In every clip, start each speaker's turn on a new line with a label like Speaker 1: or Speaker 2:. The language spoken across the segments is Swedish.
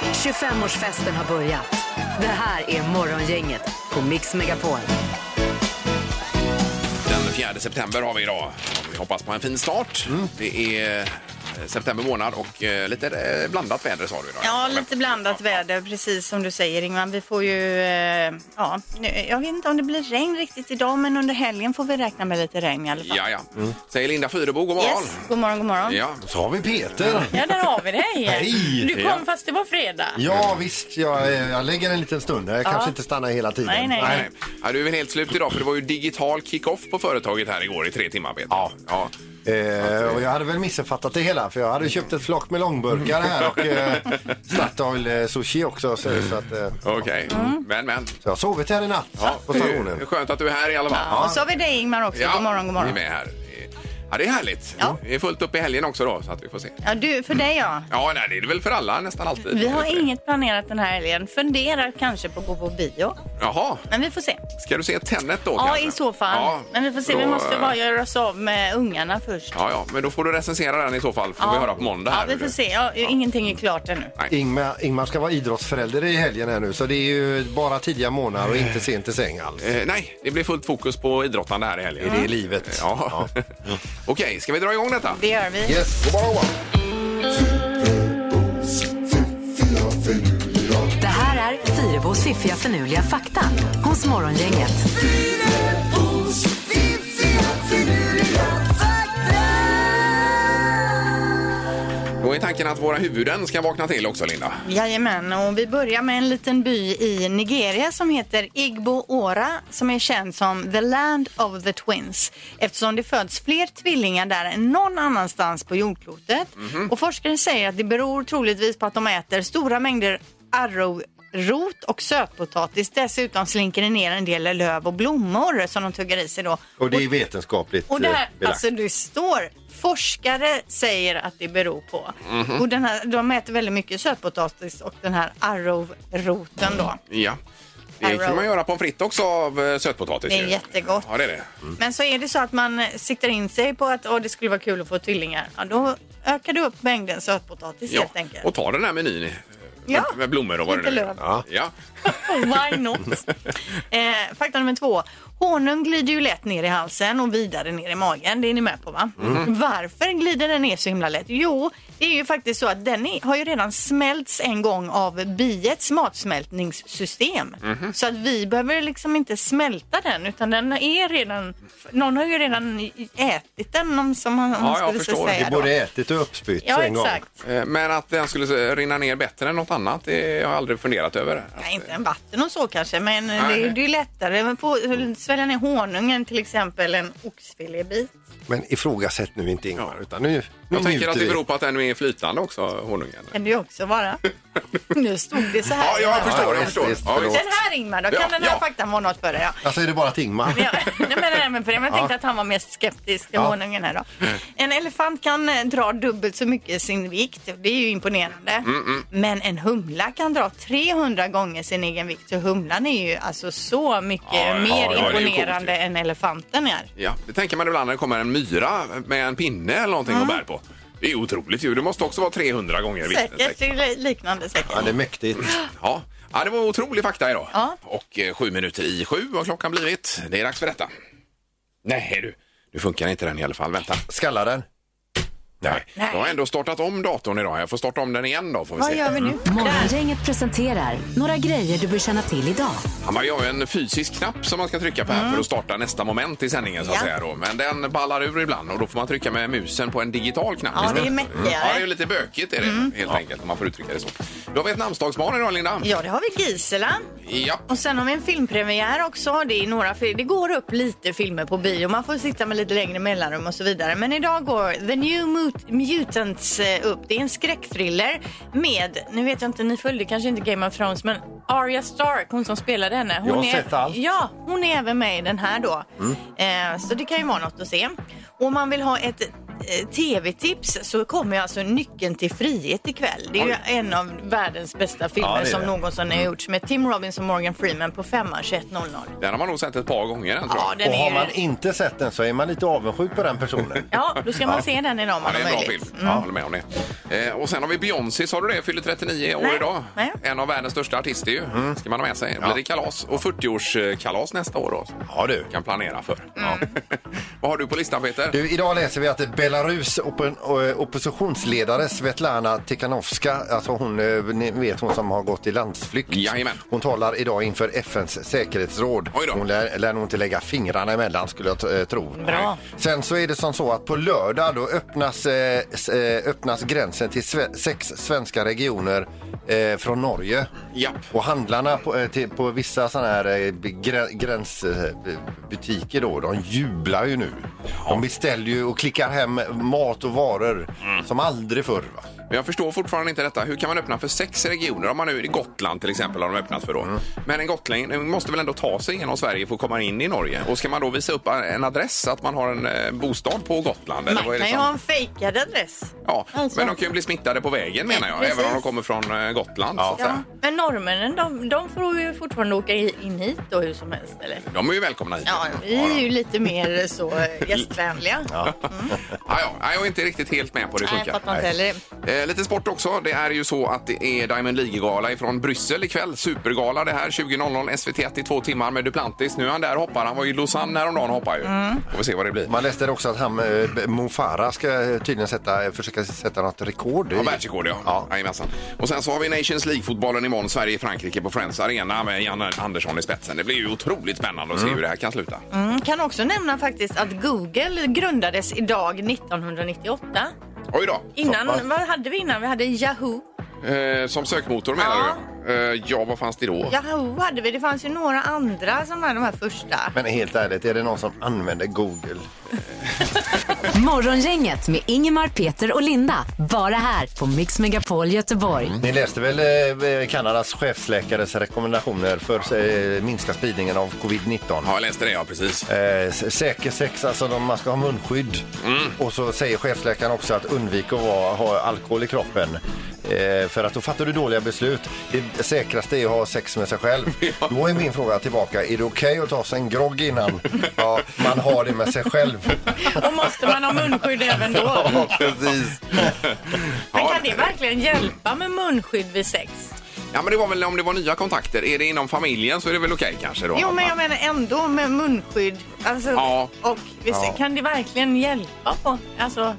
Speaker 1: 25-årsfesten har börjat. Det här är Morgongänget på Mix Megapol.
Speaker 2: Den 4 september har vi idag. Vi hoppas på en fin start. Det är eh, september månad och eh, lite eh, blandat väder sa du idag.
Speaker 3: Ja, lite blandat väder, precis som du säger Ingvar. Vi får ju, eh, ja, nu, jag vet inte om det blir regn riktigt idag, men under helgen får vi räkna med lite regn i alla fall.
Speaker 2: Ja, ja. Säger Linda Fyrebo, god morgon.
Speaker 3: Yes, god morgon, god morgon.
Speaker 2: Ja.
Speaker 4: Så har vi Peter.
Speaker 5: Ja, där har vi dig.
Speaker 4: Hej!
Speaker 5: Du kom fast det var fredag.
Speaker 4: Ja visst, jag, eh, jag lägger en liten stund. Jag kanske inte stannar hela tiden.
Speaker 3: Nej, nej,
Speaker 2: Nej. Ja, du är väl helt slut idag för det var ju digital kick-off på företaget här igår i tre timmar Peter. Ja. ja.
Speaker 4: Eh, och jag hade väl missuppfattat det hela för jag hade köpt ett flock med långburkar här och eh, Statoil eh, sushi också. Så, så, att, eh,
Speaker 2: Okej,
Speaker 3: Mm.
Speaker 2: men men.
Speaker 4: så jag har sovit här i natt på
Speaker 2: Det är
Speaker 4: stationen.
Speaker 2: Skönt att du är här i alla fall.
Speaker 3: Och så har vi dig Ingmar också, god morgon, god morgon.
Speaker 2: Vi är med här. Ja, det är härligt.
Speaker 3: Ja.
Speaker 2: Det är fullt upp i helgen också då så att vi får se.
Speaker 3: Ja, du, för dig ja.
Speaker 2: Ja, nej, det är det väl för alla nästan alltid.
Speaker 3: Vi har inget planerat den här helgen. Funderar kanske på att gå på bio,
Speaker 2: Jaha,
Speaker 3: men vi får se.
Speaker 2: ska du se Tenet då
Speaker 3: Ja,
Speaker 2: kanske?
Speaker 3: i så fall.
Speaker 2: Ja,
Speaker 3: men vi får se,
Speaker 2: då,
Speaker 3: vi måste
Speaker 2: eh,
Speaker 3: bara göra oss av med ungarna först.
Speaker 2: Ja, ja, men då får du recensera den i så fall. Får vi höra på måndag här.
Speaker 3: Ja, vi får se. Ja, Ingenting är klart ännu.
Speaker 4: Ingmar, Ingmar ska vara idrottsförälder i helgen här nu så det är ju bara tidiga månader och inte sent i säng alls.
Speaker 2: Eh, nej, det blir fullt fokus på idrottande här i helgen.
Speaker 4: Är det livet?
Speaker 2: Ja. Okej, ska vi dra igång detta?
Speaker 3: Det gör vi.
Speaker 4: Yes, god morgon.
Speaker 1: Det här är Fyrabos fiffiga förnuliga fakta hos Morgongänget.
Speaker 2: Då är tanken att våra huvuden ska vakna till också, Linda.
Speaker 3: Jajamän, och vi börjar med en liten by i Nigeria som heter Igbo-Ora som är känd som The Land of the Twins eftersom det föds fler tvillingar där än någon annanstans på jordklotet. Och forskare säger att det beror troligtvis på att de äter stora mängder arrowrot och sötpotatis. Dessutom slinker det ner en del löv och blommor som de tuggar i sig då.
Speaker 4: Och det är vetenskapligt
Speaker 3: Och det här,
Speaker 4: eh, belagt.
Speaker 3: alltså det står forskare säger att det beror på. Och den här, de äter väldigt mycket sötpotatis och den här arrowroten då.
Speaker 2: Ja. Det
Speaker 3: Arrow.
Speaker 2: kan man göra pommes frites också av eh, sötpotatis.
Speaker 3: Det är
Speaker 2: ju.
Speaker 3: jättegott.
Speaker 2: Ja, det är det.
Speaker 3: Men så är det så att man siktar in sig på att åh, det skulle vara kul att få tvillingar. Ja, då ökar du upp mängden sötpotatis helt enkelt.
Speaker 2: Och ta den här menyn eh,
Speaker 3: Ja.
Speaker 2: med, med blommor och vad
Speaker 3: Lite
Speaker 2: det nu är.
Speaker 3: löv.
Speaker 2: Ja. Ja.
Speaker 3: Why not? Eh, fakta nummer två. Honung glider ju lätt ner i halsen och vidare ner i magen. Det är ni med på va? Mm. Varför glider den ner så himla lätt? Jo, det är ju faktiskt så att den är, har ju redan smälts en gång av biets matsmältningssystem. Så att vi behöver liksom inte smälta den utan den är redan, någon har ju redan i- ätit den om, som man, om man
Speaker 2: Ja, jag
Speaker 3: skulle så
Speaker 2: förstår.
Speaker 3: säga.
Speaker 4: Det
Speaker 3: då.
Speaker 4: borde ätit och uppspytt
Speaker 3: Ja,
Speaker 4: en gång.
Speaker 3: exakt.
Speaker 2: Eh, Men att den skulle eh, rinna ner bättre än något annat, det har jag aldrig funderat över.
Speaker 3: Nej, inte en vatten och så kanske, men det,
Speaker 2: eh, nej. Mm.
Speaker 3: är- det är ju lättare. Man får svälja ner honungen till exempel, en oxfilébit.
Speaker 4: Men ifrågasätt nu inte Ingmar utan nu, nu
Speaker 2: Jag tänker
Speaker 4: njuter
Speaker 2: att det
Speaker 4: vi.
Speaker 2: beror på att den är flytande också, honungen.
Speaker 3: kan det ju också vara. Nu stod det så här.
Speaker 2: Ja, jag
Speaker 4: Ja,
Speaker 2: förstår. Jag
Speaker 4: visst,
Speaker 2: förstår.
Speaker 4: visst,
Speaker 2: Ja,
Speaker 4: förlåt.
Speaker 2: visst.
Speaker 3: Den här Ingmar, då kan
Speaker 2: Ja,
Speaker 3: den här
Speaker 2: ja.
Speaker 3: faktan vara något för dig. Ja.
Speaker 4: Alltså är det bara att Ingmar?
Speaker 3: Ja, nej, men, nej, men för det, men jag tänkte att han var mest skeptisk till
Speaker 4: Ja.
Speaker 3: honungen här då. En elefant kan eh, dra dubbelt så mycket i sin vikt. Det är ju imponerande.
Speaker 2: Mm,
Speaker 3: Men en humla kan dra 300 gånger sin egen vikt. Så humlan är ju alltså så mycket
Speaker 2: Ja, ja,
Speaker 3: mer
Speaker 2: ja, det är coolt ju.
Speaker 3: imponerande än elefanten är.
Speaker 2: Ja, det tänker man ibland när det kommer en myra med en pinne eller någonting och bär på. Det är otroligt ju. Det måste också vara 300 gånger vikten.
Speaker 3: Säkert, det är li- liknande säkert.
Speaker 4: Ja, det är mäktigt.
Speaker 2: Ja. ja, det var otrolig fakta idag.
Speaker 3: Ja.
Speaker 2: Och eh, sju minuter i sju har klockan blivit. Det är dags för detta. Nej du, nu funkar inte den i alla fall. Vänta.
Speaker 4: Skallar den?
Speaker 2: Nej.
Speaker 3: Nej.
Speaker 2: Jag har ändå startat om datorn idag. Jag får starta om den igen då får vi
Speaker 3: Vad
Speaker 2: se.
Speaker 3: gör vi nu?
Speaker 4: Mm.
Speaker 3: Där.
Speaker 1: Morgongänget presenterar några grejer du bör känna till idag.
Speaker 2: Ja, man gör ju en fysisk knapp som man ska trycka på här för att starta nästa moment i sändningen så att
Speaker 3: Mm. Ja.
Speaker 2: säga då. Men den ballar ur ibland och då får man trycka med musen på en digital knapp
Speaker 3: Ja, det är
Speaker 2: istället.
Speaker 3: mäktigare. Mm.
Speaker 2: Ja, det är lite bökigt är det helt enkelt om man får uttrycka det så. Då har vi ett namnsdagsbarn idag Linda.
Speaker 3: Ja, det har vi Gisela.
Speaker 2: Ja.
Speaker 3: Och sen har vi en filmpremiär också. Det, är några, fil- det går upp lite filmer på bio. Man får sitta med lite längre mellanrum och så vidare. Men idag går The New Mut- Mutants eh, upp. Det är en skräckthriller med, nu vet jag inte, ni följde kanske inte Game of Thrones, men Arya Stark, hon som spelade henne. Hon
Speaker 4: Jag har sett allt.
Speaker 3: Ja, hon är även med i den här då. Eh, så det kan ju vara något att se. Och om man vill ha ett eh, tv-tips så kommer alltså Nyckeln till frihet ikväll. Det är ju en av världens bästa filmer
Speaker 6: Ja, det är
Speaker 3: som
Speaker 6: det.
Speaker 3: någonsin har gjorts med Tim Robbins och Morgan Freeman på femman 21.00.
Speaker 2: Den har man nog sett ett par gånger den, tror
Speaker 3: Ja,
Speaker 2: jag.
Speaker 3: den
Speaker 4: Och
Speaker 3: är
Speaker 4: har
Speaker 3: ju...
Speaker 4: man inte sett den så är man lite avundsjuk på den personen.
Speaker 3: Ja, då ska man se den idag om
Speaker 2: Ja,
Speaker 3: man
Speaker 2: det
Speaker 3: Mm.
Speaker 2: är
Speaker 3: har
Speaker 2: en bra
Speaker 3: möjlighet.
Speaker 2: film. Jag håller med om det. Eh, och sen har vi Beyoncé, sa du det? Fyller 39 år
Speaker 3: Nej.
Speaker 2: idag.
Speaker 3: Nej. Mm.
Speaker 2: En av världens största artister ju. Ska man ha med sig. Blir det kalas. Och 40-årskalas nästa år då.
Speaker 4: Ja du.
Speaker 2: Kan planera
Speaker 3: Mm.
Speaker 2: för. Vad har du på listan Peter?
Speaker 4: Du, idag läser vi att Belarus oppo- eh, oppositionsledare Svetlana Tikhanovska, alltså hon, eh, ni vet hon som har gått i landsflykt.
Speaker 2: Jajamän.
Speaker 4: Hon talar idag inför FNs säkerhetsråd.
Speaker 2: Oj då.
Speaker 4: Hon lär, lär nog inte lägga fingrarna emellan skulle jag t- eh, tro.
Speaker 3: Bra.
Speaker 4: Sen så är det som så att på lördag då öppnas, eh, s- eh, öppnas gränsen till sve- sex svenska regioner eh, från Norge.
Speaker 2: Japp.
Speaker 4: Och handlarna på, eh, till, på vissa sådana här eh, grä- gränsbutiker då, de jublar ju nu. De beställer ju och klickar hem mat och varor
Speaker 2: Mm.
Speaker 4: som aldrig förr. Va?
Speaker 2: Men jag förstår fortfarande inte detta. Hur kan man öppna för sex regioner? Om man nu är i Gotland till exempel har de öppnat för då. Men en gotlänning måste väl ändå ta sig genom Sverige för att komma in i Norge? Och ska man då visa upp en adress att man har en eh, bostad på Gotland?
Speaker 3: Man
Speaker 2: är
Speaker 3: kan ju ha en fejkad adress.
Speaker 2: Ja,
Speaker 3: Alltså.
Speaker 2: men de kan ju bli smittade på vägen menar jag,
Speaker 3: Precis.
Speaker 2: även om de kommer från eh, Gotland. Så att
Speaker 3: Ja.
Speaker 2: säga.
Speaker 5: Men norrmännen, de, de får ju fortfarande åka i- in hit då hur som helst, eller?
Speaker 2: De är ju välkomna hit.
Speaker 3: Ja, vi är ju lite mer så eh, gästvänliga.
Speaker 2: Ja, ja, Nej, jag är inte riktigt helt med på hur det
Speaker 3: Nej, jag
Speaker 2: funkar.
Speaker 3: fattar inte heller det.
Speaker 2: Eh, lite sport också. Det är ju så att det är Diamond League-gala ifrån Bryssel ikväll. Supergala det här. 20.00 SVT1 i två timmar med Duplantis. Nu är han där och hoppar. Han var ju i Lausanne häromdagen och hoppar ju.
Speaker 5: Mm.
Speaker 2: Får vi se vad det blir.
Speaker 4: Man läste också att han, eh, B- Mo Farah ska eh, tydligen sätta, försöka sätta något rekord. i-
Speaker 2: Ja, världsrekord ja. Jajamensan. Och sen så har vi Nations League-fotbollen imorgon. Sverige-Frankrike på Friends Arena med Janne Andersson i spetsen. Det blir ju otroligt spännande att se hur det här kan sluta.
Speaker 3: Mm, kan också nämna faktiskt att Google grundades idag 1998.
Speaker 2: Oj då.
Speaker 5: Innan, vad hade vi innan? Vi hade Yahoo.
Speaker 2: Eh, som sökmotor menar
Speaker 3: Ja.
Speaker 2: du? Eh, ja, vad fanns det då?
Speaker 3: Yahoo hade vi, det fanns ju några andra som var de här första.
Speaker 4: Men helt ärligt, är det någon som använder Google?
Speaker 1: Morgongänget med Ingemar, Peter och Linda. Bara här på Mix Megapol Göteborg.
Speaker 4: Ni läste väl eh, Kanadas chefsläkares rekommendationer för eh, minska spridningen av covid-19?
Speaker 2: Ja, jag läste det, ja precis.
Speaker 4: Eh, s- säker sex, alltså de, man ska ha munskydd.
Speaker 2: Mm.
Speaker 4: Och så säger chefsläkaren också att undvik att vara, ha alkohol i kroppen. Eh, för att då fattar du dåliga beslut. Det säkraste är att ha sex med sig själv. Då är min fråga tillbaka, är det okej att ta sig en grogg innan ja, man har det med sig själv?
Speaker 5: Och måste man ha munskydd även då?
Speaker 4: Ja, precis.
Speaker 5: Men kan det verkligen hjälpa med munskydd vid sex?
Speaker 2: Ja, men det var väl om det var nya kontakter. Är det inom familjen så är det väl okej kanske då?
Speaker 3: Jo,
Speaker 2: att man-
Speaker 3: men jag menar ändå med munskydd. Alltså,
Speaker 2: Ja.
Speaker 3: Och visst,
Speaker 4: Ja.
Speaker 3: kan det verkligen hjälpa på? Alltså,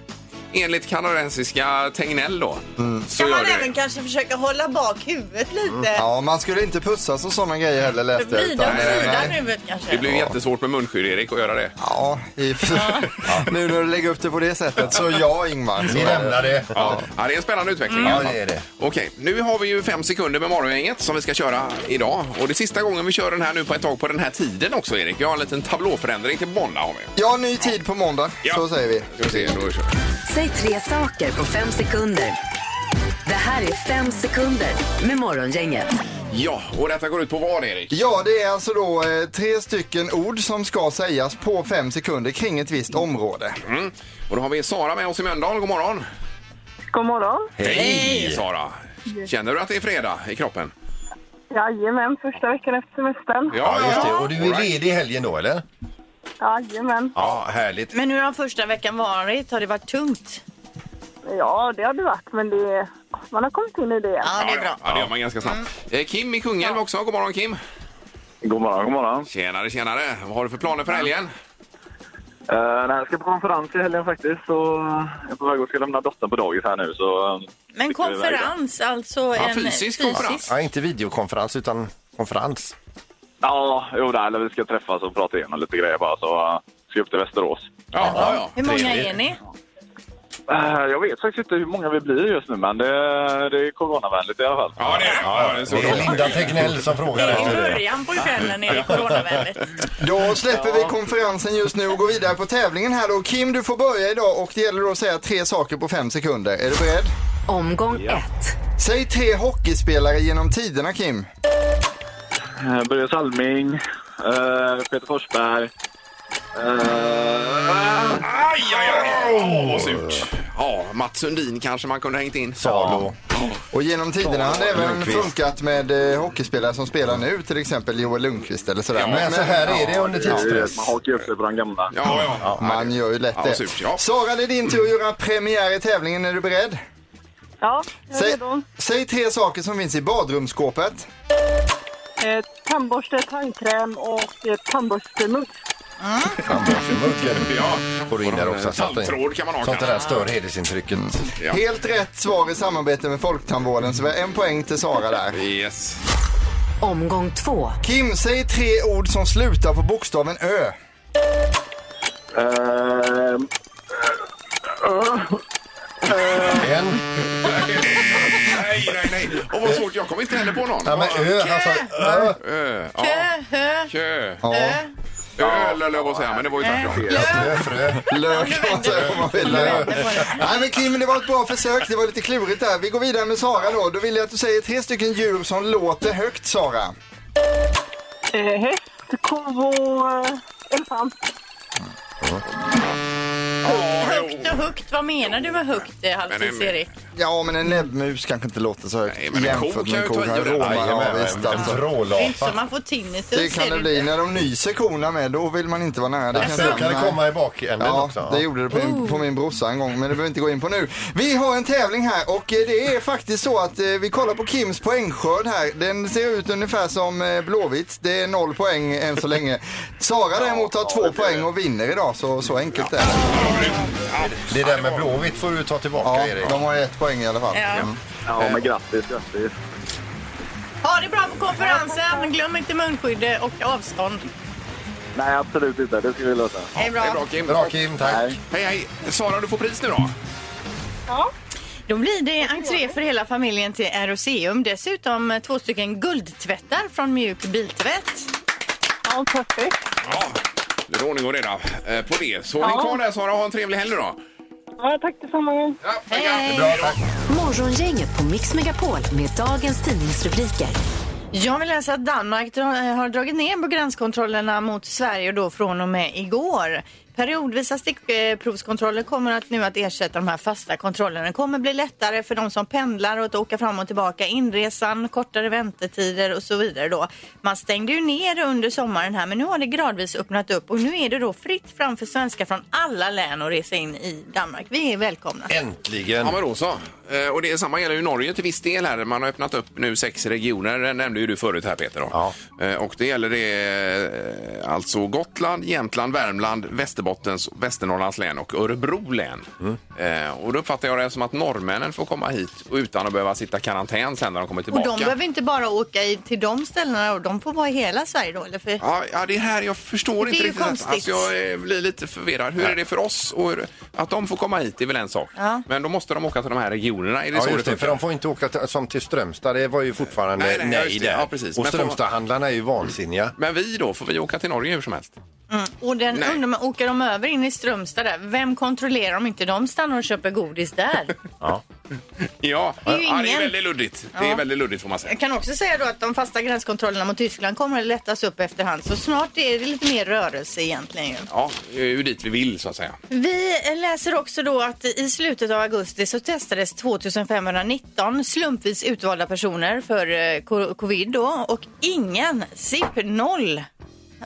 Speaker 2: Enligt kanadensiska Tegnell då. Så
Speaker 3: kan
Speaker 2: gör
Speaker 3: man
Speaker 2: det. Mm,
Speaker 3: även kanske försöka hålla bak huvudet lite?
Speaker 7: Ja, man skulle inte pussas och sådana grejer heller läste jag.
Speaker 5: Vrida
Speaker 7: utan,
Speaker 5: och
Speaker 7: eh,
Speaker 5: vrida
Speaker 7: nej.
Speaker 5: huvudet kanske?
Speaker 2: Det blir ju jättesvårt med munskydd, Erik, att göra det.
Speaker 7: Ja, i, nu när du lägger upp det på det sättet så ja Ingmar. Så
Speaker 4: Vi
Speaker 7: är det.
Speaker 4: lämnar det.
Speaker 2: Ja. det är en spännande utveckling. i alla fall.
Speaker 4: Ja, det är det.
Speaker 2: Okej, nu har vi ju fem sekunder med morgongänget som vi ska köra idag. Och det är sista gången vi kör den här nu på ett tag på den här tiden också, Erik. Vi har en liten tablåförändring till måndag har vi.
Speaker 7: Ja, ny tid på måndag.
Speaker 2: Ja.
Speaker 7: Så säger vi.
Speaker 2: Ska vi se, då kör vi.
Speaker 1: Säg tre saker på fem sekunder. Det här är fem sekunder med Morgongänget.
Speaker 2: Ja, och detta går ut på vad, Erik?
Speaker 7: Ja, det är alltså då eh, tre stycken ord som ska sägas på fem sekunder kring ett visst område.
Speaker 2: Mm. Och då har vi Sara med oss i Mölndal. God morgon!
Speaker 8: God morgon.
Speaker 2: Hej! Sara! Känner du att det är fredag i kroppen?
Speaker 8: Jajamän, första veckan efter semestern.
Speaker 4: Ja, just det.
Speaker 2: ja.
Speaker 4: Och du
Speaker 2: All
Speaker 4: är
Speaker 2: right.
Speaker 4: ledig i helgen då, eller?
Speaker 8: Jajamän.
Speaker 4: Ja, härligt.
Speaker 3: Men hur har första veckan varit? Har det varit tungt?
Speaker 8: Ja, det har det varit, men det, man har kommit in i det.
Speaker 3: Ja, det är bra. Mm.
Speaker 2: Ja, det gör man ganska snabbt. Eh, Kim i Kungälv också. God morgon Kim!
Speaker 9: God morgon, god morgon.
Speaker 2: Tjenare, tjenare! Vad har du för planer för helgen?
Speaker 9: Eh, nej, jag ska på konferens i helgen faktiskt. Så jag är på väg att ska lämna dottern på dagis här nu. Så, eh,
Speaker 3: Men
Speaker 9: sticker vi iväg då.
Speaker 3: konferens, alltså en
Speaker 2: fysisk konferens.
Speaker 4: Ja, inte videokonferens utan konferens.
Speaker 9: Ja, jo, där, eller vi ska träffas och prata igenom lite grejer bara. Så eh, ska upp till Västerås.
Speaker 2: Ja, ja,
Speaker 3: Hur många
Speaker 2: Trevligt.
Speaker 3: är ni?
Speaker 9: Eh, jag vet faktiskt inte hur många vi blir just nu, men det, det är coronavänligt i alla fall.
Speaker 2: Ja, det är det. Ja, det är så
Speaker 4: Det är
Speaker 2: roligt.
Speaker 4: Linda Tegnell som frågar
Speaker 5: I
Speaker 4: efter det.
Speaker 5: början på kvällen är det coronavänligt.
Speaker 7: Då släpper vi konferensen just nu och går vidare på tävlingen här då. Kim, du får börja idag och det gäller då att säga tre saker på fem sekunder. Är du beredd?
Speaker 1: Omgång ett.
Speaker 7: Säg tre hockeyspelare genom tiderna Kim.
Speaker 9: Eh, Börje Salming, eh, Peter Forsberg. eh, ah,
Speaker 2: Aj, aj, aj! Åh, vad surt. Ja, Mats Sundin kanske man kunde ha hängt in.
Speaker 4: Salo.
Speaker 7: Och genom tiderna har det även
Speaker 4: Lundqvist.
Speaker 7: funkat med eh, hockeyspelare som spelar nu, till exempel Joel Lundqvist eller sådär.
Speaker 2: Ja,
Speaker 4: Men så här är det under tidspress.
Speaker 9: Man hakar upp sig på den gamla.
Speaker 2: Ja, ja. ja.
Speaker 7: man gör ju lätt
Speaker 2: Ja,
Speaker 7: det.
Speaker 2: surt, ja.
Speaker 7: Sara, det är din tur att göra premiär i tävlingen. Är du beredd?
Speaker 8: Ja, jag är
Speaker 7: Säg,
Speaker 8: redo.
Speaker 7: säg tre saker som finns i badrumsskåpet.
Speaker 8: Eh, tandborste, tandkräm och eh, tandborstemuss.
Speaker 4: Tandborstemunken
Speaker 2: ja.
Speaker 4: får du in där också. så att det-
Speaker 2: Tandtråd kan man ha
Speaker 4: Så att det där
Speaker 2: kanske.
Speaker 4: stör hedersintrycket.
Speaker 2: Ja.
Speaker 7: Helt rätt svar i samarbete med Folktandvården, så vi har en poäng till Sara där.
Speaker 2: Yes.
Speaker 1: Omgång två.
Speaker 7: Kim, säg tre ord som slutar på bokstaven Ö.
Speaker 9: Ehm,
Speaker 4: En.
Speaker 2: Nej, nej, nej. Och vad svårt, jag kommer inte heller på någon.
Speaker 4: Ja, men ö. Alltså, ö.
Speaker 2: Ö, ja.
Speaker 5: Hö, hö,
Speaker 2: Kö.
Speaker 7: Ja.
Speaker 2: Öl höll jag på att säga, men det var ju tvärtom.
Speaker 4: Ö, frö.
Speaker 7: Lök kan man säga om man vill. Nej men Kim, det var ett bra försök. Det var lite klurigt där. Vi går vidare med Sara då. Då vill jag att du säger tre stycken djur som låter högt, Sara.
Speaker 8: Eh, häst, ko och eh, elefant.
Speaker 5: högt och högt. Vad menar du med högt, eh,
Speaker 2: Men
Speaker 5: halvtids
Speaker 2: det-
Speaker 5: Erik?
Speaker 7: Ja, men en näbbmus kanske inte låter så högt
Speaker 2: Nej, men en ko kan ju ta i
Speaker 7: här.
Speaker 2: det.
Speaker 7: Roma, ja,
Speaker 4: Jajamän,
Speaker 7: visst alltså.
Speaker 5: Det är inte så
Speaker 4: Vrålapa.
Speaker 5: man får tinnitus.
Speaker 7: Det kan
Speaker 5: är
Speaker 7: det bli.
Speaker 5: inte.
Speaker 7: När de nyser korna med, då vill man inte vara nära. Det
Speaker 4: Så kan det
Speaker 7: Nej.
Speaker 4: komma i bakänden
Speaker 7: Ja,
Speaker 4: också.
Speaker 7: det gjorde det på min, på min brorsa en gång, men det behöver vi inte gå in på nu. Vi har en tävling här och eh, det är faktiskt så att eh, vi kollar på Kims poängskörd här. Den ser ut ungefär som eh, Blåvitt. Det är noll poäng än så länge. Sara däremot har två poäng och vinner idag, så, så enkelt är det.
Speaker 4: Det där med Blåvitt får du ta tillbaka,
Speaker 7: Ja,
Speaker 4: Erik.
Speaker 7: de har ett poäng i alla fall.
Speaker 5: Ja.
Speaker 7: Mm.
Speaker 9: ja, men grattis, grattis.
Speaker 5: Ha det bra på konferensen. Glöm inte munskydd och avstånd.
Speaker 9: Nej, absolut inte. Det ska vi lösa.
Speaker 5: Det är
Speaker 2: Det är bra
Speaker 5: bra.
Speaker 2: Kim.
Speaker 4: Bra, Kim. Tack.
Speaker 2: Hej, hej. Sara, du får pris nu då.
Speaker 8: Ja.
Speaker 3: Då blir det entré för hela familjen till Aeroseum. Dessutom eh, två stycken guldtvättar från Mjuk Biltvätt.
Speaker 8: Ja, perfekt.
Speaker 2: Ja. Nu är det ordning och reda eh, på det. Så häng kvar där Sara och ha en trevlig helg nu då.
Speaker 8: Ja, tack detsamma.
Speaker 2: Ja,
Speaker 3: Hej.
Speaker 4: Bra, tack.
Speaker 1: Morgongänget på Mix Megapol med dagens tidningsrubriker.
Speaker 3: Jag vill läsa att Danmark dra- eh, har dragit ner på gränskontrollerna mot Sverige då från och med igår. Periodvisa stickprovskontroller kommer att nu att ersätta de här fasta kontrollerna. Det kommer bli lättare för de som pendlar och att åka fram och tillbaka inresan, kortare väntetider och så vidare då. Man stängde ju ner under sommaren här men nu har det gradvis öppnat upp och nu är det då fritt fram för svenskar från alla län att resa in i Danmark. Vi är välkomna.
Speaker 4: Äntligen.
Speaker 2: Ja men då så. Eh, Och det samma gäller ju Norge till viss del här. Man har öppnat upp nu sex regioner, det nämnde ju du förut här Peter. Då.
Speaker 4: Ja.
Speaker 2: Eh, Och det gäller det eh, alltså Gotland, Jämtland, Värmland, Västerbottens, Västernorrlands län och Örebro län.
Speaker 4: Mm.
Speaker 2: Eh, Och då uppfattar jag det som att norrmännen får komma hit och utan att behöva sitta i karantän sen när de kommer
Speaker 3: Och
Speaker 2: tillbaka.
Speaker 3: de behöver inte bara åka i, till de ställena och de får vara i hela Sverige då eller? För...
Speaker 2: Ja, ja, det är här jag förstår
Speaker 3: Det är
Speaker 2: inte
Speaker 3: ju
Speaker 2: riktigt. detta.
Speaker 3: konstigt.
Speaker 2: Alltså, jag eh, blir lite förvirrad. Hur är det för oss? Och hur, att de får komma hit är väl en sak.
Speaker 3: Ja.
Speaker 2: Men då måste de åka till de här regionerna. Är det
Speaker 4: Ja,
Speaker 2: så
Speaker 4: just det, för
Speaker 2: funkar?
Speaker 4: de får inte åka till, som till Strömstad. Det var ju fortfarande
Speaker 2: Nej,
Speaker 4: nej,
Speaker 2: nej, ja, just det.
Speaker 4: där.
Speaker 2: Ja, precis.
Speaker 4: Och
Speaker 2: Men får-
Speaker 4: Strömstadhandlarna är ju vansinniga.
Speaker 2: Men vi då? Får vi åka till Norge hur som helst?
Speaker 3: Och den
Speaker 2: Nej.
Speaker 3: undrar man, åker de över in i Strömstad där, vem kontrollerar om inte de stannar och köper godis där?
Speaker 2: Ja,
Speaker 3: Det är ju
Speaker 2: ja, det är
Speaker 3: ingen.
Speaker 2: väldigt luddigt. Det är
Speaker 3: Ja.
Speaker 2: väldigt luddigt får man säga.
Speaker 3: Jag kan också säga då att de fasta gränskontrollerna mot Tyskland kommer att lättas upp efterhand så snart är det lite mer rörelse egentligen ju.
Speaker 2: Ja, det är ju dit vi vill så att säga.
Speaker 3: Vi läser också då att i slutet av augusti så testades 2519 slumpvis utvalda personer för eh, co- covid då och ingen, SIP 0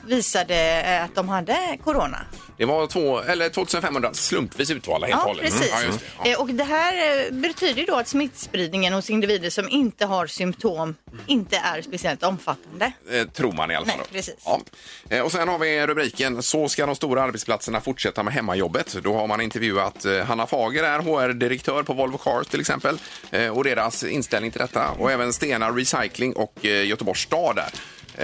Speaker 3: visade eh, att de hade corona.
Speaker 2: Det var två, eller 2500 slumpvis utvalda helt och
Speaker 3: Ja,
Speaker 2: hållet. Mm,
Speaker 3: precis.
Speaker 2: Ja, just det. Ja.
Speaker 3: Eh, Och det här eh, betyder ju då att smittspridningen hos individer som inte har symptom inte är speciellt omfattande.
Speaker 2: eh, tror man i alla fall.
Speaker 3: Nej, precis.
Speaker 2: Ja. Eh, Och sen har vi rubriken Så ska de stora arbetsplatserna fortsätta med hemmajobbet. Då har man intervjuat eh, Hanna Fager, är HR-direktör på Volvo Cars till exempel, eh, och deras inställning till detta. Och även Stena Recycling och eh, Göteborgs stad där